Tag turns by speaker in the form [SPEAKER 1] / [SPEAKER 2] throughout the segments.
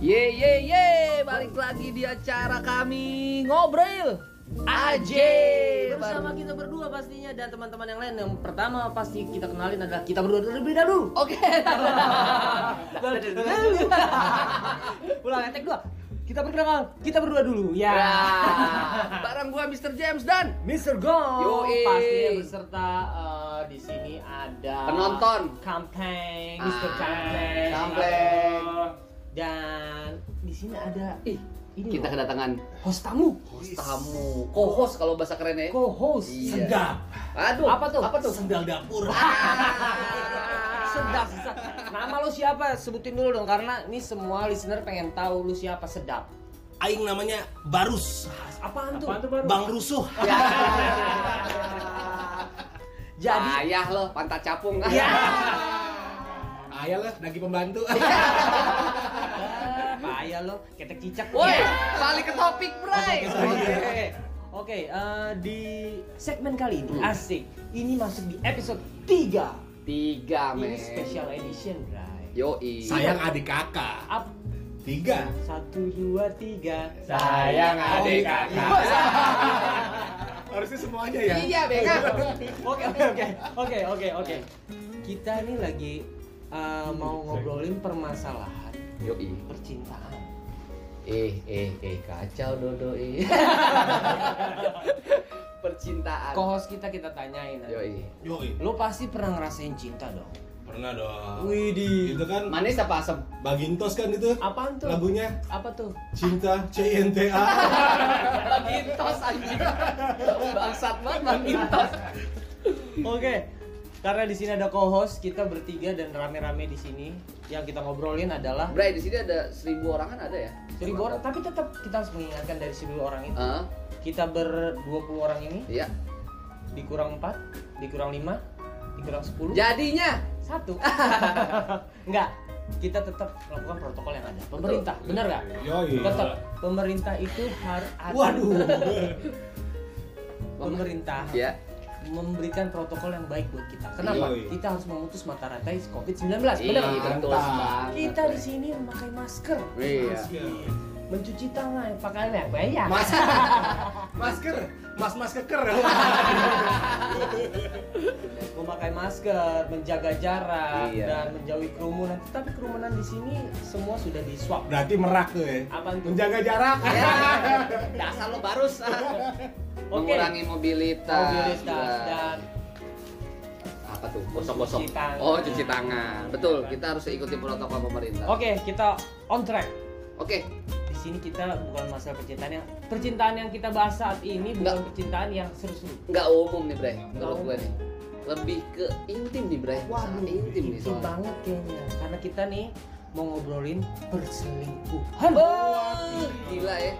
[SPEAKER 1] Ye ye ye, balik lagi di acara kami ngobrol AJ
[SPEAKER 2] bersama kita berdua pastinya dan teman-teman yang lain yang pertama pasti kita kenalin adalah kita berdua terlebih dahulu
[SPEAKER 1] Oke.
[SPEAKER 2] ulang etek gua kita perkenalkan kita berdua dulu ya
[SPEAKER 1] Ya, barang gua Mr. James dan
[SPEAKER 2] Mr. Go
[SPEAKER 1] Yoi.
[SPEAKER 2] pastinya beserta eh, di sini ada
[SPEAKER 1] Penonton.
[SPEAKER 2] Kampleng
[SPEAKER 1] Ah,
[SPEAKER 2] Mr. Kampleng
[SPEAKER 1] Kampleng.
[SPEAKER 2] dan di sini ada
[SPEAKER 1] ih
[SPEAKER 2] eh, ini
[SPEAKER 1] kita
[SPEAKER 2] loh,
[SPEAKER 1] kedatangan
[SPEAKER 2] host tamu
[SPEAKER 1] host tamu, co-host kalau bahasa kerennya. ya.
[SPEAKER 2] co-host
[SPEAKER 1] Iya.
[SPEAKER 2] sedap
[SPEAKER 1] Aduh,
[SPEAKER 2] Apa tuh?
[SPEAKER 1] Apa tuh?
[SPEAKER 3] sendal dapur
[SPEAKER 2] sedap sedap. nama lu siapa sebutin dulu dong karena ini semua listener pengen tahu lu siapa sedap
[SPEAKER 3] aing namanya barus
[SPEAKER 2] apaan tuh,
[SPEAKER 4] Apaan tuh, Bang?
[SPEAKER 3] bang rusuh
[SPEAKER 1] Ya.
[SPEAKER 2] jadi
[SPEAKER 1] ayah lo, pantat capung.
[SPEAKER 2] ya
[SPEAKER 3] ayalah lagi pembantu
[SPEAKER 2] payah lo ketek cicak
[SPEAKER 1] Woi,
[SPEAKER 2] Ya.
[SPEAKER 1] balik ke topik, Bray.
[SPEAKER 2] oke oke eh, di segmen kali ini
[SPEAKER 1] Hmm.
[SPEAKER 2] asik ini masuk di episode 3
[SPEAKER 1] Tiga, men.
[SPEAKER 2] ini special edition Bray
[SPEAKER 4] Ya.
[SPEAKER 1] Yoi.
[SPEAKER 3] sayang adik kakak
[SPEAKER 2] up
[SPEAKER 3] tiga Oh,
[SPEAKER 2] satu dua tiga
[SPEAKER 4] Sayang adik
[SPEAKER 3] iya.
[SPEAKER 4] kakak.
[SPEAKER 3] harusnya semuanya ya
[SPEAKER 1] Iya, Beka.
[SPEAKER 2] Oke oke oke oke oke oke. Kita ini lagi uh, mau ngobrolin permasalahan
[SPEAKER 1] Yoi.
[SPEAKER 2] percintaan.
[SPEAKER 1] Eh, eh, eh, kacau dodo eh. Percintaan.
[SPEAKER 2] Kohos kita kita tanyain. Nanti.
[SPEAKER 1] Yoi.
[SPEAKER 3] yoi
[SPEAKER 2] Lo pasti pernah ngerasain cinta dong.
[SPEAKER 3] pernah dong
[SPEAKER 2] Widih.
[SPEAKER 3] itu kan
[SPEAKER 1] Manis apa asem?
[SPEAKER 3] bagintos kan itu
[SPEAKER 2] Apaan tuh?
[SPEAKER 3] lagunya
[SPEAKER 2] Apa tuh?
[SPEAKER 3] cinta cinta
[SPEAKER 1] Bagintos anjing. Bangsat banget Bagintos.
[SPEAKER 2] Oke. Karena di sini ada kohos, kita bertiga dan rame-rame di sini. Yang kita ngobrolin adalah
[SPEAKER 1] Bray, di sini ada seribu orang kan ada ya?
[SPEAKER 2] seribu orang. Tapi tetap kita harus mengingatkan dari seribu orang itu.
[SPEAKER 1] Heeh.
[SPEAKER 2] Kita ber 20 orang ini
[SPEAKER 1] Iya.
[SPEAKER 2] dikurang 4, dikurang 5, dikurang 10.
[SPEAKER 1] Jadinya
[SPEAKER 2] satu enggak kita tetap melakukan protokol yang ada pemerintah benar nggak
[SPEAKER 1] Iya.
[SPEAKER 3] yoi
[SPEAKER 2] tetap pemerintah itu harus ada.
[SPEAKER 3] waduh
[SPEAKER 2] pemerintah
[SPEAKER 1] ya
[SPEAKER 2] memberikan protokol yang baik buat kita kenapa
[SPEAKER 3] Yoi.
[SPEAKER 2] kita harus memutus mata rantai covid 19 benar
[SPEAKER 1] Iya,
[SPEAKER 2] nggak?
[SPEAKER 1] betul
[SPEAKER 3] Mantap.
[SPEAKER 1] banget.
[SPEAKER 2] kita di sini memakai masker
[SPEAKER 1] Iya.
[SPEAKER 2] mencuci tangan pakaian yang banyak
[SPEAKER 3] masker masker mas mas keker
[SPEAKER 2] memakai masker menjaga jarak
[SPEAKER 1] Iya.
[SPEAKER 2] dan menjauhi kerumunan tapi kerumunan di sini semua sudah di swab
[SPEAKER 3] berarti merak tuh Iya, ya
[SPEAKER 2] Apaan tuh?
[SPEAKER 3] menjaga jarak
[SPEAKER 1] Ya, dasar lo barus. Mengurangi mobilitas.
[SPEAKER 2] mobilitas
[SPEAKER 1] Bray.
[SPEAKER 2] dan
[SPEAKER 1] apa tuh? Gosok-gosok.
[SPEAKER 2] Cuci tangan.
[SPEAKER 1] Oh, cuci tangan. Betul, kita harus ikuti protokol pemerintah.
[SPEAKER 2] oke kita on track
[SPEAKER 1] Oke.
[SPEAKER 2] di sini kita bukan masalah percintaan yang percintaan yang kita bahas saat ini bukan
[SPEAKER 1] Nggak.
[SPEAKER 2] percintaan yang seru-seru.
[SPEAKER 1] nggak umum nih Bray menurut
[SPEAKER 2] umum.
[SPEAKER 1] gue nih lebih ke intim nih Bray sangat intim nih
[SPEAKER 2] Iya, itu
[SPEAKER 1] soalnya
[SPEAKER 2] banget kayaknya karena kita nih mau ngobrolin perselingkuhan.
[SPEAKER 1] Wah, gila ya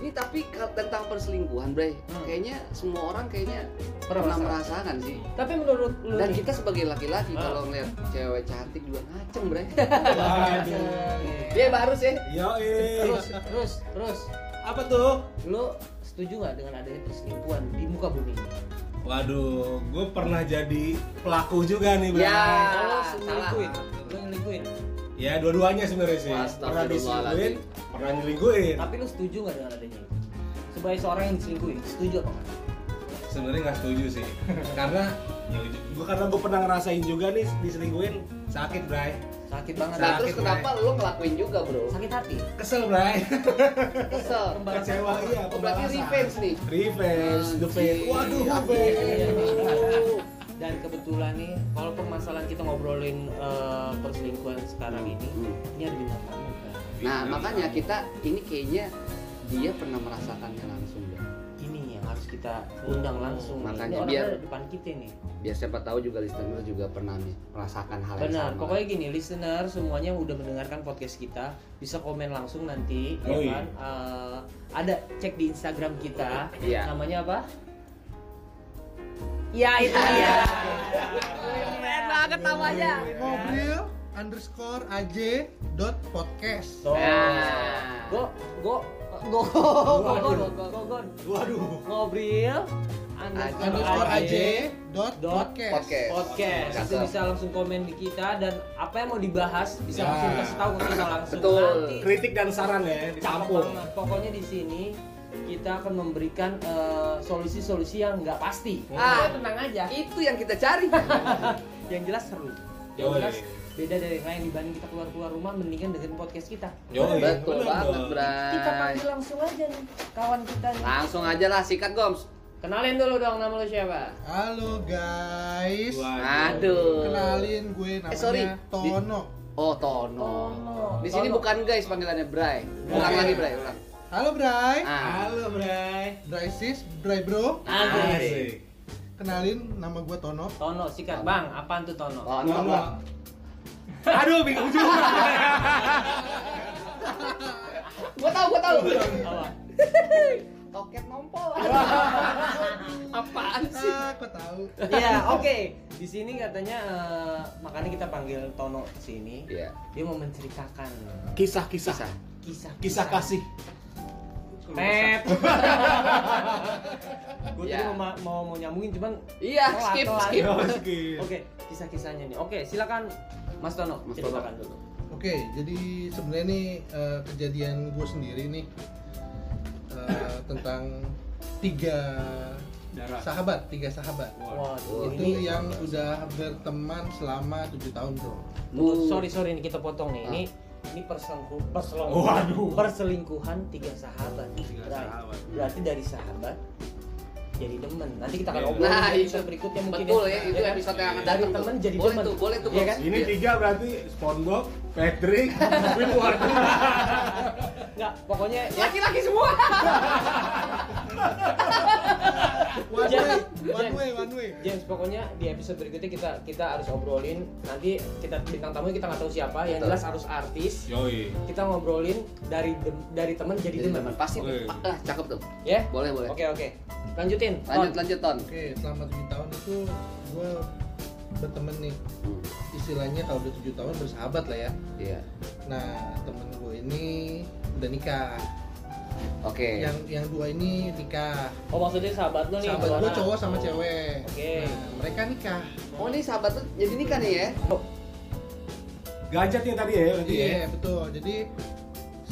[SPEAKER 1] ini tapi ke- tentang perselingkuhan Bray
[SPEAKER 2] Hmm.
[SPEAKER 1] kayaknya semua orang kayaknya
[SPEAKER 2] Pernah
[SPEAKER 1] pernah merasakan sih
[SPEAKER 2] Tapi menurut lu
[SPEAKER 1] dan
[SPEAKER 2] nih,
[SPEAKER 1] kita sebagai laki-laki
[SPEAKER 2] Ah.
[SPEAKER 1] kalau ngeliat cewek cantik juga ngaceng Bray
[SPEAKER 3] waduh
[SPEAKER 1] dia baru sih Nah,
[SPEAKER 3] yoi
[SPEAKER 2] Iya, terus terus terus
[SPEAKER 3] apa tuh
[SPEAKER 2] lu setuju nggak dengan adanya perselingkuhan di muka bumi?
[SPEAKER 3] Waduh, gue pernah jadi pelaku juga nih, Bang.
[SPEAKER 1] Ya.
[SPEAKER 3] Ya,
[SPEAKER 2] Kalau
[SPEAKER 1] salah.
[SPEAKER 2] selingkuhin, lu nyelingkuhin.
[SPEAKER 3] dua-duanya sebenarnya sih. Pernah
[SPEAKER 1] Astagfirullahaladzim.
[SPEAKER 3] diselingkuhin, pernah nyelingkuhin.
[SPEAKER 2] Tapi lu setuju nggak dengan adanya itu? Sebagai seorang yang diselingkuhin, setuju apa nggak?
[SPEAKER 3] Sebenarnya nggak setuju sih, karena gue karena gue pernah ngerasain juga nih diselingkuhin sakit, Bray.
[SPEAKER 2] Sakit banget.
[SPEAKER 1] nah
[SPEAKER 3] Sakit,
[SPEAKER 1] terus kenapa lo ngelakuin juga bro
[SPEAKER 2] Sakit hati.
[SPEAKER 3] Kesel, Bray.
[SPEAKER 1] kesel
[SPEAKER 2] Pembalasan.
[SPEAKER 3] Kecewa iya.
[SPEAKER 1] oh, berarti
[SPEAKER 3] pembalasan.
[SPEAKER 1] revenge nih
[SPEAKER 3] Revenge, the fate. Waduh,
[SPEAKER 1] Iya, iya,
[SPEAKER 3] revenge.
[SPEAKER 1] iya.
[SPEAKER 2] Dan kebetulan nih, kalau permasalahan kita ngobrolin eh, perselingkuhan sekarang ini,
[SPEAKER 1] Hmm.
[SPEAKER 2] ini ada bintang tamu kan?
[SPEAKER 1] Nah, makanya kita ini kayaknya dia pernah merasakannya langsung ya.
[SPEAKER 2] Ini yang harus kita undang langsung. nih.
[SPEAKER 1] Makanya
[SPEAKER 2] ini orangnya
[SPEAKER 1] biar-
[SPEAKER 2] ada di depan kita nih.
[SPEAKER 1] Biar Ya, siapa tahu juga listener juga pernah nih merasakan hal yang
[SPEAKER 2] Benar.
[SPEAKER 1] sama.
[SPEAKER 2] Pokoknya gini, listener semuanya yang udah mendengarkan podcast kita bisa komen langsung nanti, ya
[SPEAKER 3] Yoi.
[SPEAKER 2] kan? Eh, ada cek di Instagram kita.
[SPEAKER 1] Iya.
[SPEAKER 2] Namanya apa? Ya itu dia. Keren banget namanya.
[SPEAKER 5] mobil underscore aj dot podcast
[SPEAKER 2] Tuh.
[SPEAKER 1] Nah.
[SPEAKER 2] Gue gue Gogon,
[SPEAKER 3] Waduh.
[SPEAKER 2] Gogon, Gogon.
[SPEAKER 3] Waduh.
[SPEAKER 2] Ngobril
[SPEAKER 5] underscore aj dot
[SPEAKER 2] dot
[SPEAKER 5] podcast
[SPEAKER 4] podcast.
[SPEAKER 2] podcast. Nanti
[SPEAKER 4] Cakep.
[SPEAKER 2] bisa langsung komen di kita dan apa yang mau dibahas bisa
[SPEAKER 3] Ya.
[SPEAKER 2] langsung kasih tahu ke kita langsung
[SPEAKER 4] Betul.
[SPEAKER 2] nanti.
[SPEAKER 3] Kritik dan saran ya
[SPEAKER 2] Campur.
[SPEAKER 3] dicampur.
[SPEAKER 2] Pokoknya di sini kita akan memberikan eh, solusi-solusi yang nggak pasti.
[SPEAKER 1] Ah.
[SPEAKER 2] Pokoknya tenang aja.
[SPEAKER 1] Itu yang kita cari.
[SPEAKER 2] Yang jelas seru. Yang
[SPEAKER 3] Yoi.
[SPEAKER 2] jelas beda dari yang lain dibanding kita keluar-keluar rumah mendingan dengerin podcast kita.
[SPEAKER 3] Yoi,
[SPEAKER 1] Betul
[SPEAKER 3] bener
[SPEAKER 1] banget,
[SPEAKER 3] dong.
[SPEAKER 1] Bray.
[SPEAKER 2] Kita panggil langsung aja nih kawan kita nih.
[SPEAKER 1] Langsung aja lah sikat, Goms.
[SPEAKER 2] Kenalin dulu dong nama lu siapa?
[SPEAKER 5] halo guys
[SPEAKER 3] Waduh.
[SPEAKER 1] Aduh.
[SPEAKER 5] kenalin gue namanya
[SPEAKER 2] Eh,
[SPEAKER 1] sorry.
[SPEAKER 5] Tono
[SPEAKER 1] Oh, Tono. Di sini
[SPEAKER 2] Tono.
[SPEAKER 1] bukan guys panggilannya Bray. Ulang
[SPEAKER 3] Bray.
[SPEAKER 1] lagi Bray, ulang.
[SPEAKER 5] halo Bray
[SPEAKER 1] Ah.
[SPEAKER 3] Halo, Bray.
[SPEAKER 5] Bray sis Bray bro
[SPEAKER 2] Asik.
[SPEAKER 3] Asik.
[SPEAKER 5] kenalin nama gue Tono
[SPEAKER 2] Tono sikat bang, apaan tuh Tono?
[SPEAKER 1] Oh,
[SPEAKER 3] Nggak,
[SPEAKER 1] Tono.
[SPEAKER 3] nggak. Aduh, bingung juga.
[SPEAKER 1] Gua tahu, gua tahu.
[SPEAKER 2] Apa?
[SPEAKER 1] Toket nompol. Apaan sih?
[SPEAKER 5] ah gue tahu
[SPEAKER 2] Iya, oke. Di sini katanya eh, makanya kita panggil Tono ke sini.
[SPEAKER 1] Iya.
[SPEAKER 2] Dia mau menceritakan
[SPEAKER 3] Kisah-kisah.
[SPEAKER 2] kisah
[SPEAKER 3] Kisah kasih.
[SPEAKER 2] Pep. Gue tadi
[SPEAKER 1] Iya.
[SPEAKER 2] mau, ma- mau mau nyambungin cuman
[SPEAKER 1] Iya,
[SPEAKER 2] telat,
[SPEAKER 1] skip,
[SPEAKER 2] telat.
[SPEAKER 1] skip.
[SPEAKER 3] Iya.
[SPEAKER 2] Oke, kisah-kisahnya nih. Oke, silakan Mas Tono
[SPEAKER 1] Mas Tono.
[SPEAKER 2] ceritakan dulu.
[SPEAKER 5] Oke, jadi sebenarnya nih eh, kejadian gue sendiri nih eh, tentang tiga
[SPEAKER 3] Darah.
[SPEAKER 5] sahabat, tiga sahabat.
[SPEAKER 2] Waduh,
[SPEAKER 5] Itu
[SPEAKER 2] Oh, ini
[SPEAKER 5] yang udah berteman selama tujuh tahun bro.
[SPEAKER 2] Tuh, sorry sorry ini kita potong nih. Ini ini perselingkuh, perselingkuhan, perselingkuhan tiga sahabat.
[SPEAKER 3] Tiga
[SPEAKER 2] Berarti-
[SPEAKER 3] sahabat.
[SPEAKER 2] Berarti dari sahabat jadi temen. Nanti kita akan
[SPEAKER 3] Iya.
[SPEAKER 2] obrolin
[SPEAKER 1] Nah,
[SPEAKER 2] di
[SPEAKER 1] itu.
[SPEAKER 2] episode berikutnya mungkin.
[SPEAKER 1] Betul ya, itu
[SPEAKER 2] kan?
[SPEAKER 1] episode yang akan
[SPEAKER 2] dari
[SPEAKER 1] datang tuh.
[SPEAKER 2] temen jadi
[SPEAKER 1] Boleh
[SPEAKER 2] temen.
[SPEAKER 1] tuh, boleh tuh,
[SPEAKER 2] Iya
[SPEAKER 1] Bos.
[SPEAKER 2] kan?
[SPEAKER 3] Ini tiga berarti SpongeBob, Patrick, Squidward.
[SPEAKER 2] Enggak, pokoknya ya,
[SPEAKER 1] Laki-laki semua.
[SPEAKER 5] One way,
[SPEAKER 2] Jangan-
[SPEAKER 5] one
[SPEAKER 2] jangan.
[SPEAKER 5] way, one way.
[SPEAKER 2] James pokoknya di episode berikutnya kita kita harus obrolin nanti kita bintang tamunya kita nggak tahu siapa yang
[SPEAKER 1] Betul.
[SPEAKER 2] jelas harus artis
[SPEAKER 3] Yoi.
[SPEAKER 2] kita ngobrolin dari dem- dari teman jadi
[SPEAKER 1] Jadi
[SPEAKER 2] teman
[SPEAKER 1] teman pasti
[SPEAKER 3] Boleh.
[SPEAKER 1] pa- ah, cakep tuh.
[SPEAKER 2] ya
[SPEAKER 1] Boleh, boleh.
[SPEAKER 2] oke oke lanjutin
[SPEAKER 1] Lanjut,
[SPEAKER 2] Ton.
[SPEAKER 1] lanjut, Ton.
[SPEAKER 5] Oke, selama tujuh tahun itu gue berteman nih. Istilahnya kalau udah tujuh tahun bersahabat lah ya.
[SPEAKER 1] Iya.
[SPEAKER 5] Nah, temen gue ini udah nikah.
[SPEAKER 1] Oke.
[SPEAKER 5] Yang yang dua ini nikah.
[SPEAKER 2] Oh maksudnya sahabat lu nih?
[SPEAKER 5] Sahabat gue
[SPEAKER 2] Corona.
[SPEAKER 5] cowok sama cewek.
[SPEAKER 2] Oke.
[SPEAKER 5] Nah, mereka nikah.
[SPEAKER 1] Oh, ini sahabat tuh jadi nikah nih ya.
[SPEAKER 3] Gadget ya tadi ya, berarti ya.
[SPEAKER 5] Iya betul. Jadi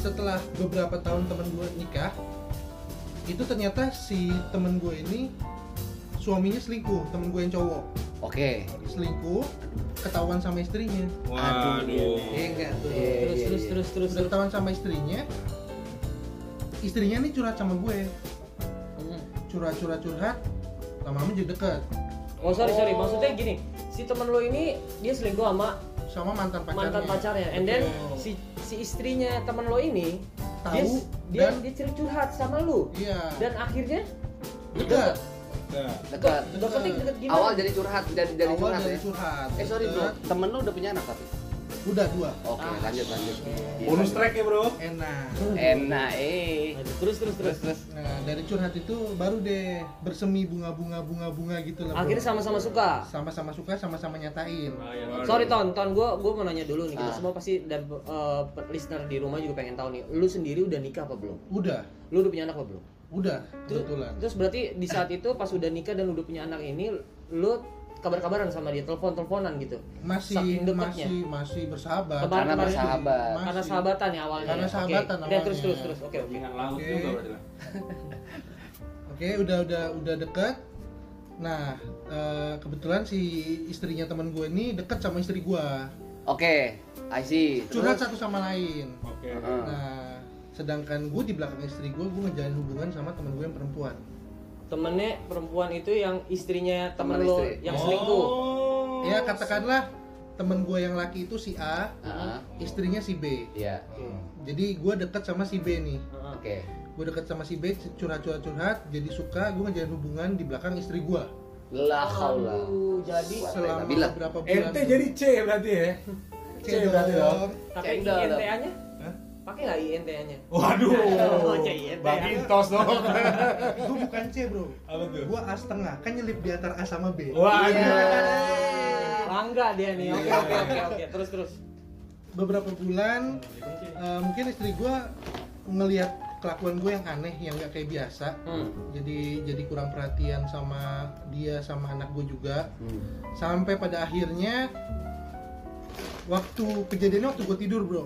[SPEAKER 5] setelah beberapa tahun temen gue nikah, itu ternyata si temen gue ini suaminya selingkuh, temen gue yang cowok
[SPEAKER 1] Oke.
[SPEAKER 5] selingkuh, ketahuan sama istrinya.
[SPEAKER 3] Waduh.
[SPEAKER 1] Iya enggak tuh.
[SPEAKER 2] Terus,
[SPEAKER 1] Iya, iya,
[SPEAKER 2] terus,
[SPEAKER 1] iya.
[SPEAKER 2] terus, terus,
[SPEAKER 5] Udah
[SPEAKER 2] terus.
[SPEAKER 5] ketahuan sama istrinya, istrinya nih curhat sama gue,
[SPEAKER 2] Hmm.
[SPEAKER 5] curhat curhat curhat, lama-lama jadi deket
[SPEAKER 2] Oh sorry, sorry. Maksudnya gini, si temen lo ini dia selingkuh sama
[SPEAKER 5] sama mantan pacarnya.
[SPEAKER 2] mantan pacarnya, and then
[SPEAKER 5] Betul.
[SPEAKER 2] si si istrinya temen lo ini
[SPEAKER 5] Tahu
[SPEAKER 2] dia dia,
[SPEAKER 5] dan-
[SPEAKER 2] dia ciri curhat sama lu,
[SPEAKER 5] Iya.
[SPEAKER 2] dan akhirnya
[SPEAKER 5] deket.
[SPEAKER 3] Nah,
[SPEAKER 1] Dekat.
[SPEAKER 2] deketin deket gimana?
[SPEAKER 1] Awal jadi curhat dari dari
[SPEAKER 5] Awal
[SPEAKER 1] curhat
[SPEAKER 5] dari
[SPEAKER 1] ya.
[SPEAKER 5] curhat.
[SPEAKER 1] Eh, sorry, Bro.
[SPEAKER 5] deket.
[SPEAKER 1] Temen lu udah punya anak tapi.
[SPEAKER 5] Udah dua.
[SPEAKER 1] Oke,
[SPEAKER 2] Ah.
[SPEAKER 1] lanjut, lanjut. Iya,
[SPEAKER 3] bonus
[SPEAKER 1] lanjut.
[SPEAKER 3] track ya, Bro.
[SPEAKER 5] Enak.
[SPEAKER 1] Enak, eh.
[SPEAKER 2] Lanjut, terus, terus, terus, terus.
[SPEAKER 5] Nah, dari curhat itu baru deh bersemi bunga-bunga bunga-bunga gitu lah. bro.
[SPEAKER 2] Akhirnya sama-sama suka.
[SPEAKER 5] sama-sama suka, sama-sama nyatain.
[SPEAKER 2] Sorry Ton, Ton gue gue mau nanya dulu nih kita
[SPEAKER 1] Ah.
[SPEAKER 2] semua pasti dan eh, listener di rumah juga pengen tahu nih, lu sendiri udah nikah apa belum?
[SPEAKER 5] Udah,
[SPEAKER 2] Lu udah punya anak apa belum?
[SPEAKER 5] udah
[SPEAKER 2] Terus,
[SPEAKER 5] kebetulan.
[SPEAKER 2] terus berarti di saat itu pas udah nikah dan udah punya anak ini lu kabar-kabaran sama dia, telepon-teleponan gitu.
[SPEAKER 5] Masih
[SPEAKER 2] saking deketnya.
[SPEAKER 5] masih masih bersahabat.
[SPEAKER 2] Kemarin- Karena kemarin-
[SPEAKER 1] bersahabat.
[SPEAKER 5] Masih.
[SPEAKER 2] Karena sahabatan ya awalnya.
[SPEAKER 5] Karena
[SPEAKER 2] ya? Oke.
[SPEAKER 5] sahabatan
[SPEAKER 2] Udah,
[SPEAKER 5] awalnya.
[SPEAKER 2] terus terus terus. Oke, oke.
[SPEAKER 3] Minang laut
[SPEAKER 5] Oke.
[SPEAKER 3] juga berarti lah.
[SPEAKER 5] Oke, udah udah udah deket. Nah, eh, kebetulan si istrinya teman gue ini deket sama istri gue.
[SPEAKER 1] Oke, I see.
[SPEAKER 5] Curhat
[SPEAKER 1] Terus?
[SPEAKER 5] satu sama lain.
[SPEAKER 3] Oke.
[SPEAKER 1] Heeh.
[SPEAKER 5] Nah, sedangkan gue di belakang istri gue, gue ngejalin hubungan sama teman gue yang perempuan.
[SPEAKER 2] Temennya perempuan itu yang istrinya temen
[SPEAKER 1] Temen
[SPEAKER 2] lo
[SPEAKER 1] istri.
[SPEAKER 2] yang selingkuh.
[SPEAKER 3] Oh.
[SPEAKER 5] Ya katakanlah teman gue yang laki itu si A,
[SPEAKER 3] Ah.
[SPEAKER 1] Heeh.
[SPEAKER 5] istrinya si B.
[SPEAKER 1] Iya.
[SPEAKER 5] Jadi gue deket sama si B nih.
[SPEAKER 2] Heeh.
[SPEAKER 1] Oke.
[SPEAKER 5] Gue deket sama si B, curhat-curhat-curhat, jadi suka gue ngejalin hubungan di belakang istri gue.
[SPEAKER 1] La haula.
[SPEAKER 2] Aduh, jadi
[SPEAKER 5] Selama
[SPEAKER 1] Bila.
[SPEAKER 5] beberapa bulan.
[SPEAKER 3] NT jadi C berarti ya. C berarti dong.
[SPEAKER 2] pakai
[SPEAKER 1] Cendol dong.
[SPEAKER 2] INTA-nya?
[SPEAKER 3] Hah?
[SPEAKER 2] Pakai nggak INTA-nya?
[SPEAKER 3] Waduh.
[SPEAKER 2] Oh, C, iya,
[SPEAKER 3] Bang Intos dong.
[SPEAKER 5] Gue bukan C bro,
[SPEAKER 3] Apa tuh?
[SPEAKER 5] gue A setengah, kan nyelip di antara A sama
[SPEAKER 2] Iya.
[SPEAKER 5] B.
[SPEAKER 3] Waduh.
[SPEAKER 2] Bangga dia nih. Oke, oke, oke, oke. Terus terus.
[SPEAKER 5] Beberapa bulan, eh, mungkin istri gue ngelihat kelakuan gue yang aneh yang nggak kayak biasa
[SPEAKER 2] Hmm.
[SPEAKER 5] jadi jadi kurang perhatian sama dia sama anak gue juga
[SPEAKER 1] Hmm.
[SPEAKER 5] sampai pada akhirnya waktu kejadiannya waktu gue tidur bro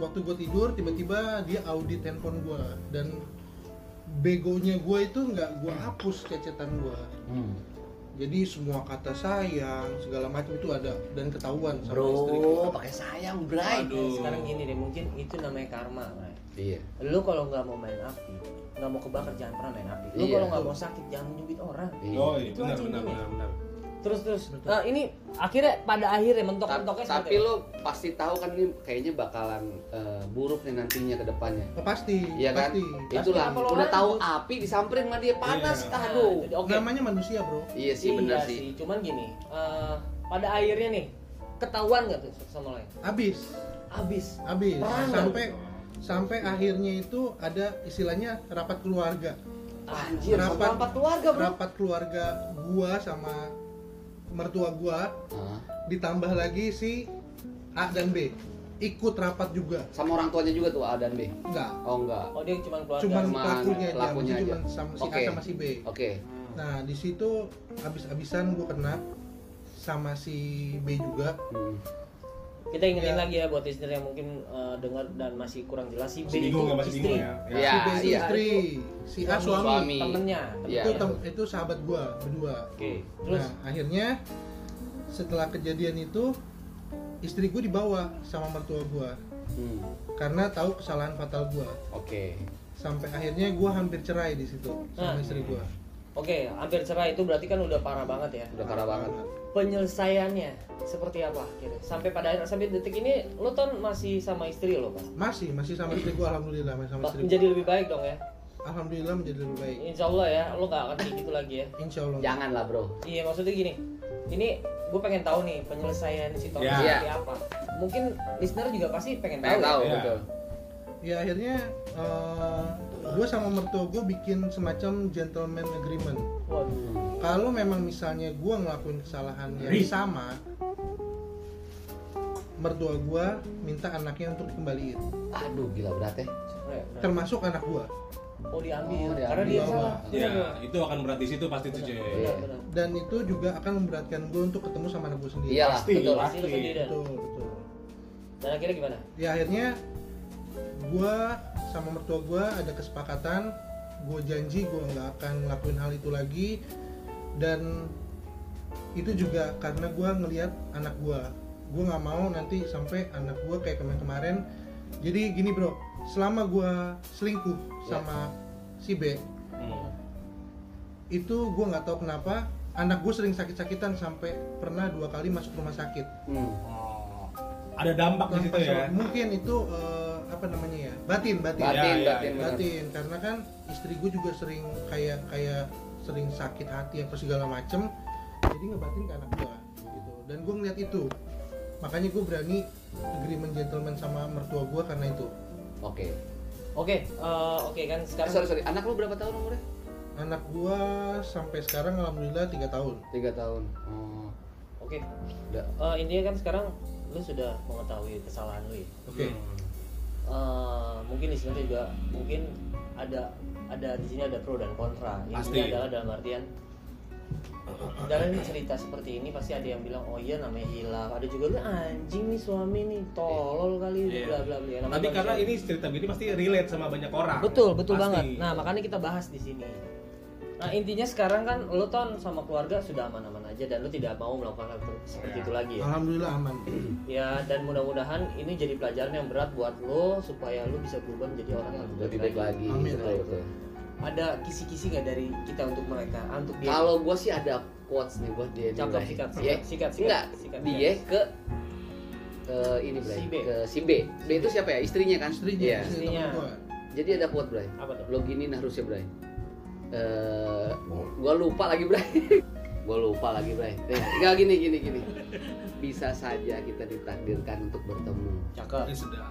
[SPEAKER 5] waktu gue tidur tiba-tiba dia audit handphone gue dan begonya gue itu nggak gue hapus kecetan gue
[SPEAKER 1] Hmm.
[SPEAKER 5] jadi semua kata sayang segala macam itu ada dan ketahuan sama istri Oh, gue
[SPEAKER 6] Bro, pakai sayang, Bray.
[SPEAKER 3] Aduh.
[SPEAKER 2] Sekarang gini deh, mungkin itu namanya karma, Bray.
[SPEAKER 6] Iya.
[SPEAKER 2] Lu kalau nggak mau main api, nggak mau kebakar jangan pernah main api. Lu
[SPEAKER 6] Iya.
[SPEAKER 2] kalau nggak mau sakit jangan nyubit orang.
[SPEAKER 3] Oh, iya,
[SPEAKER 2] Itu
[SPEAKER 3] benar,
[SPEAKER 2] aja
[SPEAKER 3] benar,
[SPEAKER 2] ini.
[SPEAKER 3] benar, benar.
[SPEAKER 2] Terus terus. Nah, ini akhirnya pada akhirnya mentok
[SPEAKER 6] Ta-
[SPEAKER 2] mentoknya
[SPEAKER 6] Tapi lo pasti tahu kan ini kayaknya bakalan eh, buruk nih nantinya ke depannya.
[SPEAKER 5] Oh, pasti
[SPEAKER 6] Iya kan?
[SPEAKER 5] pasti
[SPEAKER 6] Itulah
[SPEAKER 2] Pasti, apa lo
[SPEAKER 6] udah tahu
[SPEAKER 2] lanjut?
[SPEAKER 6] api disamperin sama dia panas.
[SPEAKER 3] Iya.
[SPEAKER 6] Aduh.
[SPEAKER 2] Nah, Oke.
[SPEAKER 5] namanya manusia bro
[SPEAKER 6] Iya Nah, sih benar
[SPEAKER 2] Iya
[SPEAKER 6] sih.
[SPEAKER 2] Cuman gini, eh, pada akhirnya nih ketahuan nggak tuh satu sama lain?
[SPEAKER 5] abis
[SPEAKER 2] Abis.
[SPEAKER 5] abis
[SPEAKER 2] Perang nggak
[SPEAKER 5] sampai sampai akhirnya itu ada istilahnya rapat keluarga
[SPEAKER 2] Ah,
[SPEAKER 6] Anjir,
[SPEAKER 5] Rapat.
[SPEAKER 6] sampai empat keluarga, Bro.
[SPEAKER 5] rapat keluarga gua sama mertua gua
[SPEAKER 6] Hah?
[SPEAKER 5] ditambah lagi si A dan B ikut rapat juga
[SPEAKER 6] Sama orang tuanya juga tuh A dan B.
[SPEAKER 5] enggak
[SPEAKER 6] Oh enggak.
[SPEAKER 2] Oh dia cuma keluarga.
[SPEAKER 5] cuman
[SPEAKER 6] cuman
[SPEAKER 5] pelakunya aja
[SPEAKER 6] pelakunya
[SPEAKER 5] maksudnya
[SPEAKER 6] aja.
[SPEAKER 5] cuman sama si
[SPEAKER 6] Oke.
[SPEAKER 5] A sama si B
[SPEAKER 6] Oke.
[SPEAKER 5] nah di situ abis-abisan gua kena sama si B juga
[SPEAKER 6] Hmm.
[SPEAKER 2] Kita ingetin
[SPEAKER 5] Ya.
[SPEAKER 2] lagi ya buat listener yang mungkin eh, dengar dan masih kurang jelas si B
[SPEAKER 3] Masih
[SPEAKER 2] itu
[SPEAKER 3] bingung ya, masih bingung
[SPEAKER 2] istri.
[SPEAKER 3] ya.
[SPEAKER 6] Iya.
[SPEAKER 5] si B itu
[SPEAKER 6] iya.
[SPEAKER 5] istri si A suami,
[SPEAKER 6] Suami.
[SPEAKER 2] Temennya.
[SPEAKER 6] Iya.
[SPEAKER 5] itu tem- itu sahabat gua berdua
[SPEAKER 2] Oke. Terus
[SPEAKER 5] Terus akhirnya setelah kejadian itu istri gue dibawa sama mertua gue
[SPEAKER 6] Hmm.
[SPEAKER 5] karena tahu kesalahan fatal gue.
[SPEAKER 6] Oke.
[SPEAKER 5] Sampai akhirnya gue hampir cerai di situ
[SPEAKER 6] Ah.
[SPEAKER 2] Nah.
[SPEAKER 5] sama istri gue.
[SPEAKER 2] oke, hampir cerai itu berarti kan udah parah banget ya.
[SPEAKER 6] Udah parah banget.
[SPEAKER 2] Penyelesaiannya seperti apa akhirnya? Sampai pada akhir- sampai detik ini lo ton masih sama istri lo kan?
[SPEAKER 5] Masih masih sama istri gue alhamdulillah masih sama istri gue.
[SPEAKER 2] Menjadi lebih baik dong ya.
[SPEAKER 5] Alhamdulillah menjadi lebih baik.
[SPEAKER 6] Iya.
[SPEAKER 2] Insya Allah ya, lo gak akan kayak gitu lagi ya.
[SPEAKER 5] Insya Allah.
[SPEAKER 6] Janganlah, Bro.
[SPEAKER 2] Iya maksudnya gini, ini gue pengen tahu nih penyelesaian si Tony
[SPEAKER 3] Iya.
[SPEAKER 2] seperti apa. Mungkin listener juga pasti pengen tahu. ya?
[SPEAKER 6] Pengen tahu
[SPEAKER 3] Iya.
[SPEAKER 6] betul.
[SPEAKER 5] Ya akhirnya gue sama mertua gue bikin semacam gentleman agreement.
[SPEAKER 2] Waduh.
[SPEAKER 6] Hmm.
[SPEAKER 5] Kalau memang misalnya gue ngelakuin kesalahan yang
[SPEAKER 3] Ri.
[SPEAKER 5] sama, mertua gue minta anaknya untuk dikembaliin.
[SPEAKER 6] Aduh, gila berat ya.
[SPEAKER 2] Bener, bener.
[SPEAKER 5] termasuk anak gua
[SPEAKER 2] Oh diambil,
[SPEAKER 6] Oh,
[SPEAKER 2] karena
[SPEAKER 6] diambil.
[SPEAKER 5] Iya.
[SPEAKER 2] dia salah.
[SPEAKER 3] Ya, itu akan berat di situ pasti tuh,
[SPEAKER 2] Bener,
[SPEAKER 3] cuy.
[SPEAKER 6] Iya.
[SPEAKER 2] bener, bener.
[SPEAKER 5] dan itu juga akan memberatkan gua untuk ketemu sama anak gua sendiri
[SPEAKER 1] Iya.
[SPEAKER 6] Iyalah,
[SPEAKER 3] Pasti,
[SPEAKER 6] betul.
[SPEAKER 2] Pasti lo
[SPEAKER 5] Iya.
[SPEAKER 3] pasti.
[SPEAKER 2] sendirian.
[SPEAKER 5] betul betul
[SPEAKER 2] Dan akhirnya gimana?
[SPEAKER 5] ya akhirnya gua sama mertua gua ada kesepakatan gua janji gua nggak akan ngelakuin hal itu lagi dan itu juga karena gua ngelihat anak gua gua nggak mau nanti sampai anak gua kayak kemarin kemarin jadi gini bro selama gua selingkuh sama si B
[SPEAKER 3] Hmm.
[SPEAKER 5] itu gue nggak tahu kenapa anak gue sering sakit-sakitan sampai pernah dua kali masuk rumah sakit.
[SPEAKER 6] Hmm.
[SPEAKER 3] Oh. Ada dampak di situ
[SPEAKER 5] Tanpa
[SPEAKER 3] ya.
[SPEAKER 5] sebab- Mungkin itu eh, apa namanya ya batin batin
[SPEAKER 3] Iya,
[SPEAKER 6] Batin,
[SPEAKER 3] iya,
[SPEAKER 6] batin,
[SPEAKER 3] iya.
[SPEAKER 6] benar.
[SPEAKER 5] batin karena kan istri gue juga sering kayak kayak sering sakit hati apa segala macem jadi ngebatin ke anak gue gitu dan gue ngeliat itu makanya gue berani agreement gentleman sama mertua gue karena itu
[SPEAKER 6] Oke.
[SPEAKER 2] Oke, eh, oke
[SPEAKER 6] Eh,
[SPEAKER 2] kan sekarang.
[SPEAKER 6] sorry, sorry. Anak lu berapa tahun umurnya?
[SPEAKER 5] anak gue sampai sekarang alhamdulillah tiga tahun
[SPEAKER 6] Tiga tahun. Oh.
[SPEAKER 2] Oke,
[SPEAKER 6] Udah.
[SPEAKER 2] Eh, intinya kan sekarang lu sudah mengetahui kesalahan lu. Ya.
[SPEAKER 5] oke
[SPEAKER 1] Hmm,
[SPEAKER 2] Eh, mungkin listener juga mungkin ada ada di sini ada pro dan kontra. Intinya
[SPEAKER 3] Pasti.
[SPEAKER 2] adalah dalam artian dalam cerita seperti ini pasti ada yang bilang oh iya namanya hilang ada juga lu anjing nih suami nih tolol kali
[SPEAKER 3] Iya.
[SPEAKER 2] bla bla bla Namanya
[SPEAKER 3] Tapi karena
[SPEAKER 2] manusia.
[SPEAKER 3] ini cerita begini pasti relate sama banyak orang.
[SPEAKER 2] Betul, betul
[SPEAKER 3] Pasti.
[SPEAKER 2] banget. Nah, makanya kita bahas di sini. Nah, intinya sekarang kan lo ton sama keluarga sudah aman-aman aja dan lo tidak mau melakukan hal ter- seperti
[SPEAKER 3] Iya.
[SPEAKER 2] itu lagi ya.
[SPEAKER 5] alhamdulillah aman
[SPEAKER 2] Ya, dan mudah-mudahan ini jadi pelajaran yang berat buat lo supaya lo bisa berubah menjadi orang yang
[SPEAKER 6] Lebih baik lagi. gitu,
[SPEAKER 5] Amin.
[SPEAKER 6] Betul, betul.
[SPEAKER 2] Ada kisi-kisi nggak dari kita untuk mereka, Ah, untuk dia?
[SPEAKER 6] Kalau gua sih ada quotes nih buat dia. nih,
[SPEAKER 2] Iya. cakep
[SPEAKER 6] Bray.
[SPEAKER 2] sikat,
[SPEAKER 6] Iya.
[SPEAKER 2] sikat, sikat, sikat,
[SPEAKER 6] Enggak, Iya.
[SPEAKER 2] sikat,
[SPEAKER 6] dia ke ke ini Bray,
[SPEAKER 2] Si B.
[SPEAKER 6] ke si B. B itu siapa ya? Istrinya kan?
[SPEAKER 5] istrinya
[SPEAKER 6] Iya.
[SPEAKER 5] istri
[SPEAKER 2] Istrinya.
[SPEAKER 5] temen gue
[SPEAKER 6] Jadi ada quote Bray.
[SPEAKER 2] Apa tuh?
[SPEAKER 6] Lo giniin harusnya Bray. Eh, gua lupa lagi Bray. gua lupa lagi Bray. Eh, Enggak gini gini gini. Bisa saja kita ditakdirkan untuk bertemu,
[SPEAKER 2] Cakep.
[SPEAKER 3] Ya sudah.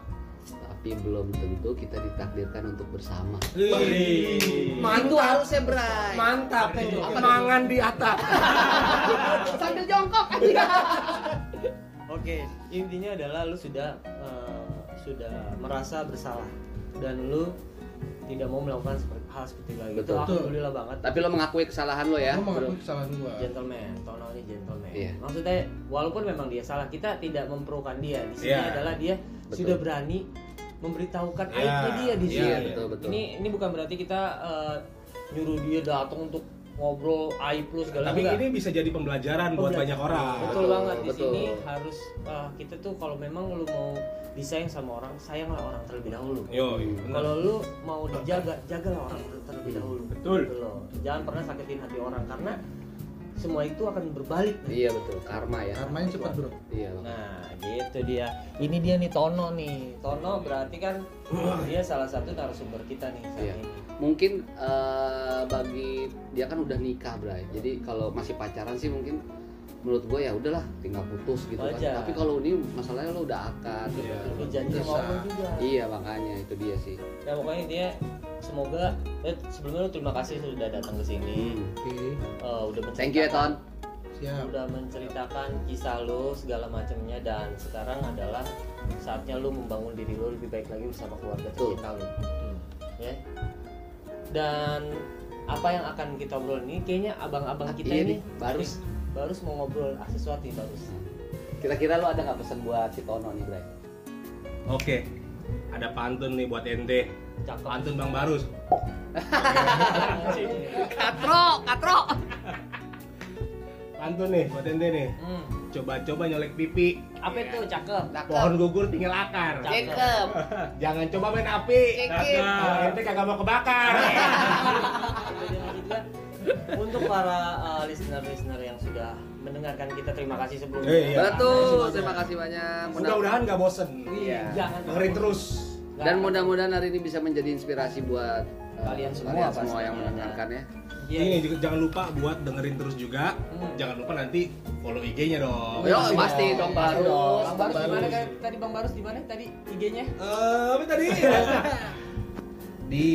[SPEAKER 6] tapi belum tentu kita ditakdirkan untuk bersama.
[SPEAKER 3] Wih.
[SPEAKER 6] Itu harusnya Bray.
[SPEAKER 2] Mantap itu.
[SPEAKER 6] Mangan di atas. Sambil jongkok aja.
[SPEAKER 2] Oke, intinya adalah lu sudah eh, sudah merasa bersalah dan lu tidak mau melakukan seperti, hal seperti itu lagi. Itu
[SPEAKER 1] Betul.
[SPEAKER 2] alhamdulillah banget.
[SPEAKER 1] Tapi lo mengakui kesalahan lo ya?
[SPEAKER 5] Gua mengakui kesalahan gua
[SPEAKER 2] gentleman, tonalnya gentleman.
[SPEAKER 1] Iya.
[SPEAKER 2] Maksudnya walaupun memang dia salah, kita tidak memperlukan dia. Di sini
[SPEAKER 3] Iya.
[SPEAKER 2] adalah dia
[SPEAKER 1] Betul.
[SPEAKER 2] sudah berani memberitahukan
[SPEAKER 3] Iya.
[SPEAKER 2] aibnya dia di
[SPEAKER 3] Iya,
[SPEAKER 2] sini.
[SPEAKER 1] betul, betul.
[SPEAKER 2] Ini ini bukan berarti kita eh, nyuruh dia datang untuk ngobrol aib lu segala
[SPEAKER 3] Tapi
[SPEAKER 2] enggak.
[SPEAKER 3] ini bisa jadi pembelajaran buat
[SPEAKER 2] Pembelajaran.
[SPEAKER 3] banyak orang.
[SPEAKER 2] Betul banget di
[SPEAKER 1] Betul.
[SPEAKER 2] sini harus eh, kita tuh kalau memang lu mau disayang sama orang, sayanglah orang terlebih dahulu.
[SPEAKER 3] Yo,
[SPEAKER 2] Kalau lu mau dijaga, jagalah orang terlebih dahulu.
[SPEAKER 3] Betul.
[SPEAKER 2] Gitu loh. Jangan pernah sakitin hati orang karena semua itu akan berbalik. nanti.
[SPEAKER 1] Iya betul, karma ya.
[SPEAKER 5] karmanya cepat bro
[SPEAKER 1] Iya.
[SPEAKER 2] Nah, gitu dia. Ini dia nih Tono nih. Tono berarti kan dia salah satu narasumber kita nih saat
[SPEAKER 1] Iya.
[SPEAKER 2] ini.
[SPEAKER 1] Mungkin eh, bagi dia kan udah nikah, Bray. Jadi kalau masih pacaran sih mungkin menurut gue ya udahlah tinggal putus gitu kan.
[SPEAKER 2] Wajar.
[SPEAKER 1] Tapi kalau ini masalahnya lo udah akad.
[SPEAKER 3] Iya.
[SPEAKER 2] Lu janji
[SPEAKER 5] Bisa.
[SPEAKER 2] sama Allah juga.
[SPEAKER 1] Iya makanya itu dia sih.
[SPEAKER 2] Ya pokoknya dia semoga eh, sebelumnya lu terima kasih sudah datang ke sini.
[SPEAKER 1] Hmm.
[SPEAKER 5] oke
[SPEAKER 2] Eh, udah
[SPEAKER 1] Thank you ya
[SPEAKER 2] menceritakan-
[SPEAKER 1] Ton.
[SPEAKER 5] siap
[SPEAKER 2] udah menceritakan kisah lu segala macamnya dan sekarang adalah saatnya lu membangun diri lu lebih baik lagi bersama keluarga
[SPEAKER 1] Betul.
[SPEAKER 2] tercinta lu ya dan apa yang akan kita obrol ini kayaknya abang-abang
[SPEAKER 1] Ah,
[SPEAKER 2] kita
[SPEAKER 1] iya
[SPEAKER 2] ini
[SPEAKER 1] nih, Barus.
[SPEAKER 2] baru mau ngobrol ah, sesuatu nih Barus
[SPEAKER 1] Kira-kira lo ada nggak pesan buat si Tono nih, Bray?
[SPEAKER 3] Oke. Ada pantun nih buat ente.
[SPEAKER 2] cakep
[SPEAKER 3] Pantun Bang Barus.
[SPEAKER 1] Katro, katro.
[SPEAKER 3] Pantun nih buat ente nih.
[SPEAKER 2] Hmm.
[SPEAKER 3] Coba-coba nyolek pipi.
[SPEAKER 2] apa itu cakep
[SPEAKER 3] Pohon gugur tinggal akar.
[SPEAKER 2] Cakep.
[SPEAKER 3] Jangan coba main api. Kalau ente kagak mau kebakar.
[SPEAKER 2] Nah,
[SPEAKER 3] Nah,
[SPEAKER 2] Jadi maksud gua, untuk para uh, listener-listener yang sudah mendengarkan kita terima kasih sebelumnya
[SPEAKER 3] Eh, iya.
[SPEAKER 1] Betul, terima kasih banyak.
[SPEAKER 3] Mudah-mudahan nggak bosen.
[SPEAKER 2] Iya. jangan
[SPEAKER 3] Dengerin terus.
[SPEAKER 1] Dan
[SPEAKER 2] Iya,
[SPEAKER 1] mudah-mudahan hari ini bisa menjadi inspirasi buat eh,
[SPEAKER 2] Kalian
[SPEAKER 1] semua
[SPEAKER 2] semua pastinya.
[SPEAKER 1] yang mendengarkan ya.
[SPEAKER 2] Iya.
[SPEAKER 3] Ini juga jangan lupa buat dengerin terus juga.
[SPEAKER 2] Hmm. Iya,
[SPEAKER 3] Jangan lupa nanti follow IG-nya Iya, dong.
[SPEAKER 1] Yo, pasti dong Barus.
[SPEAKER 2] Bang Barus di mana kan? Tadi Bang Barus di mana? Tadi IG-nya?
[SPEAKER 3] Eh, apa tadi? Di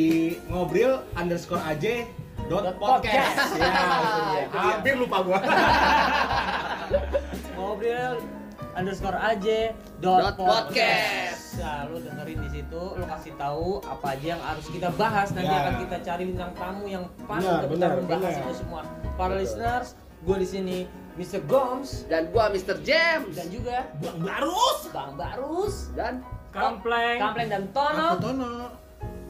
[SPEAKER 3] ngobrol underscore aj dot
[SPEAKER 2] Dot podcast.
[SPEAKER 3] podcast. Ya,
[SPEAKER 2] Iya, itu dia.
[SPEAKER 3] hampir lupa gua.
[SPEAKER 2] Ngobrol underscore aj
[SPEAKER 1] Dot podcast.
[SPEAKER 2] Nah, lu dengerin di situ, lu kasih tahu apa aja yang harus kita bahas. Nanti
[SPEAKER 3] Ya.
[SPEAKER 2] akan kita cari bintang tamu yang pas
[SPEAKER 3] Benar,
[SPEAKER 2] untuk
[SPEAKER 3] benar,
[SPEAKER 2] kita membahas
[SPEAKER 3] benar.
[SPEAKER 2] itu semua. Para
[SPEAKER 1] Betul.
[SPEAKER 2] listeners, gue di sini Mr. Goms
[SPEAKER 1] Dan gua Mr. James
[SPEAKER 2] dan juga
[SPEAKER 3] Bang Barus.
[SPEAKER 2] Bang Barus,
[SPEAKER 1] dan
[SPEAKER 2] Kampleng, Kampleng dan
[SPEAKER 5] aku
[SPEAKER 2] Tono.
[SPEAKER 5] Tono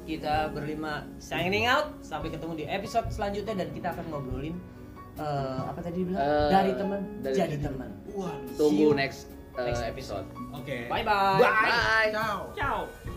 [SPEAKER 2] kita berlima signing out sampai ketemu di episode selanjutnya dan kita akan ngobrolin eh, apa tadi bilang
[SPEAKER 1] Eh,
[SPEAKER 2] dari teman
[SPEAKER 1] dari-
[SPEAKER 2] jadi teman
[SPEAKER 3] Waduh.
[SPEAKER 1] tunggu
[SPEAKER 2] See you
[SPEAKER 1] next, eh,
[SPEAKER 2] next
[SPEAKER 1] episode.
[SPEAKER 2] episode
[SPEAKER 3] Oke.
[SPEAKER 2] bye bye
[SPEAKER 1] Bye.
[SPEAKER 5] ciao
[SPEAKER 2] ciao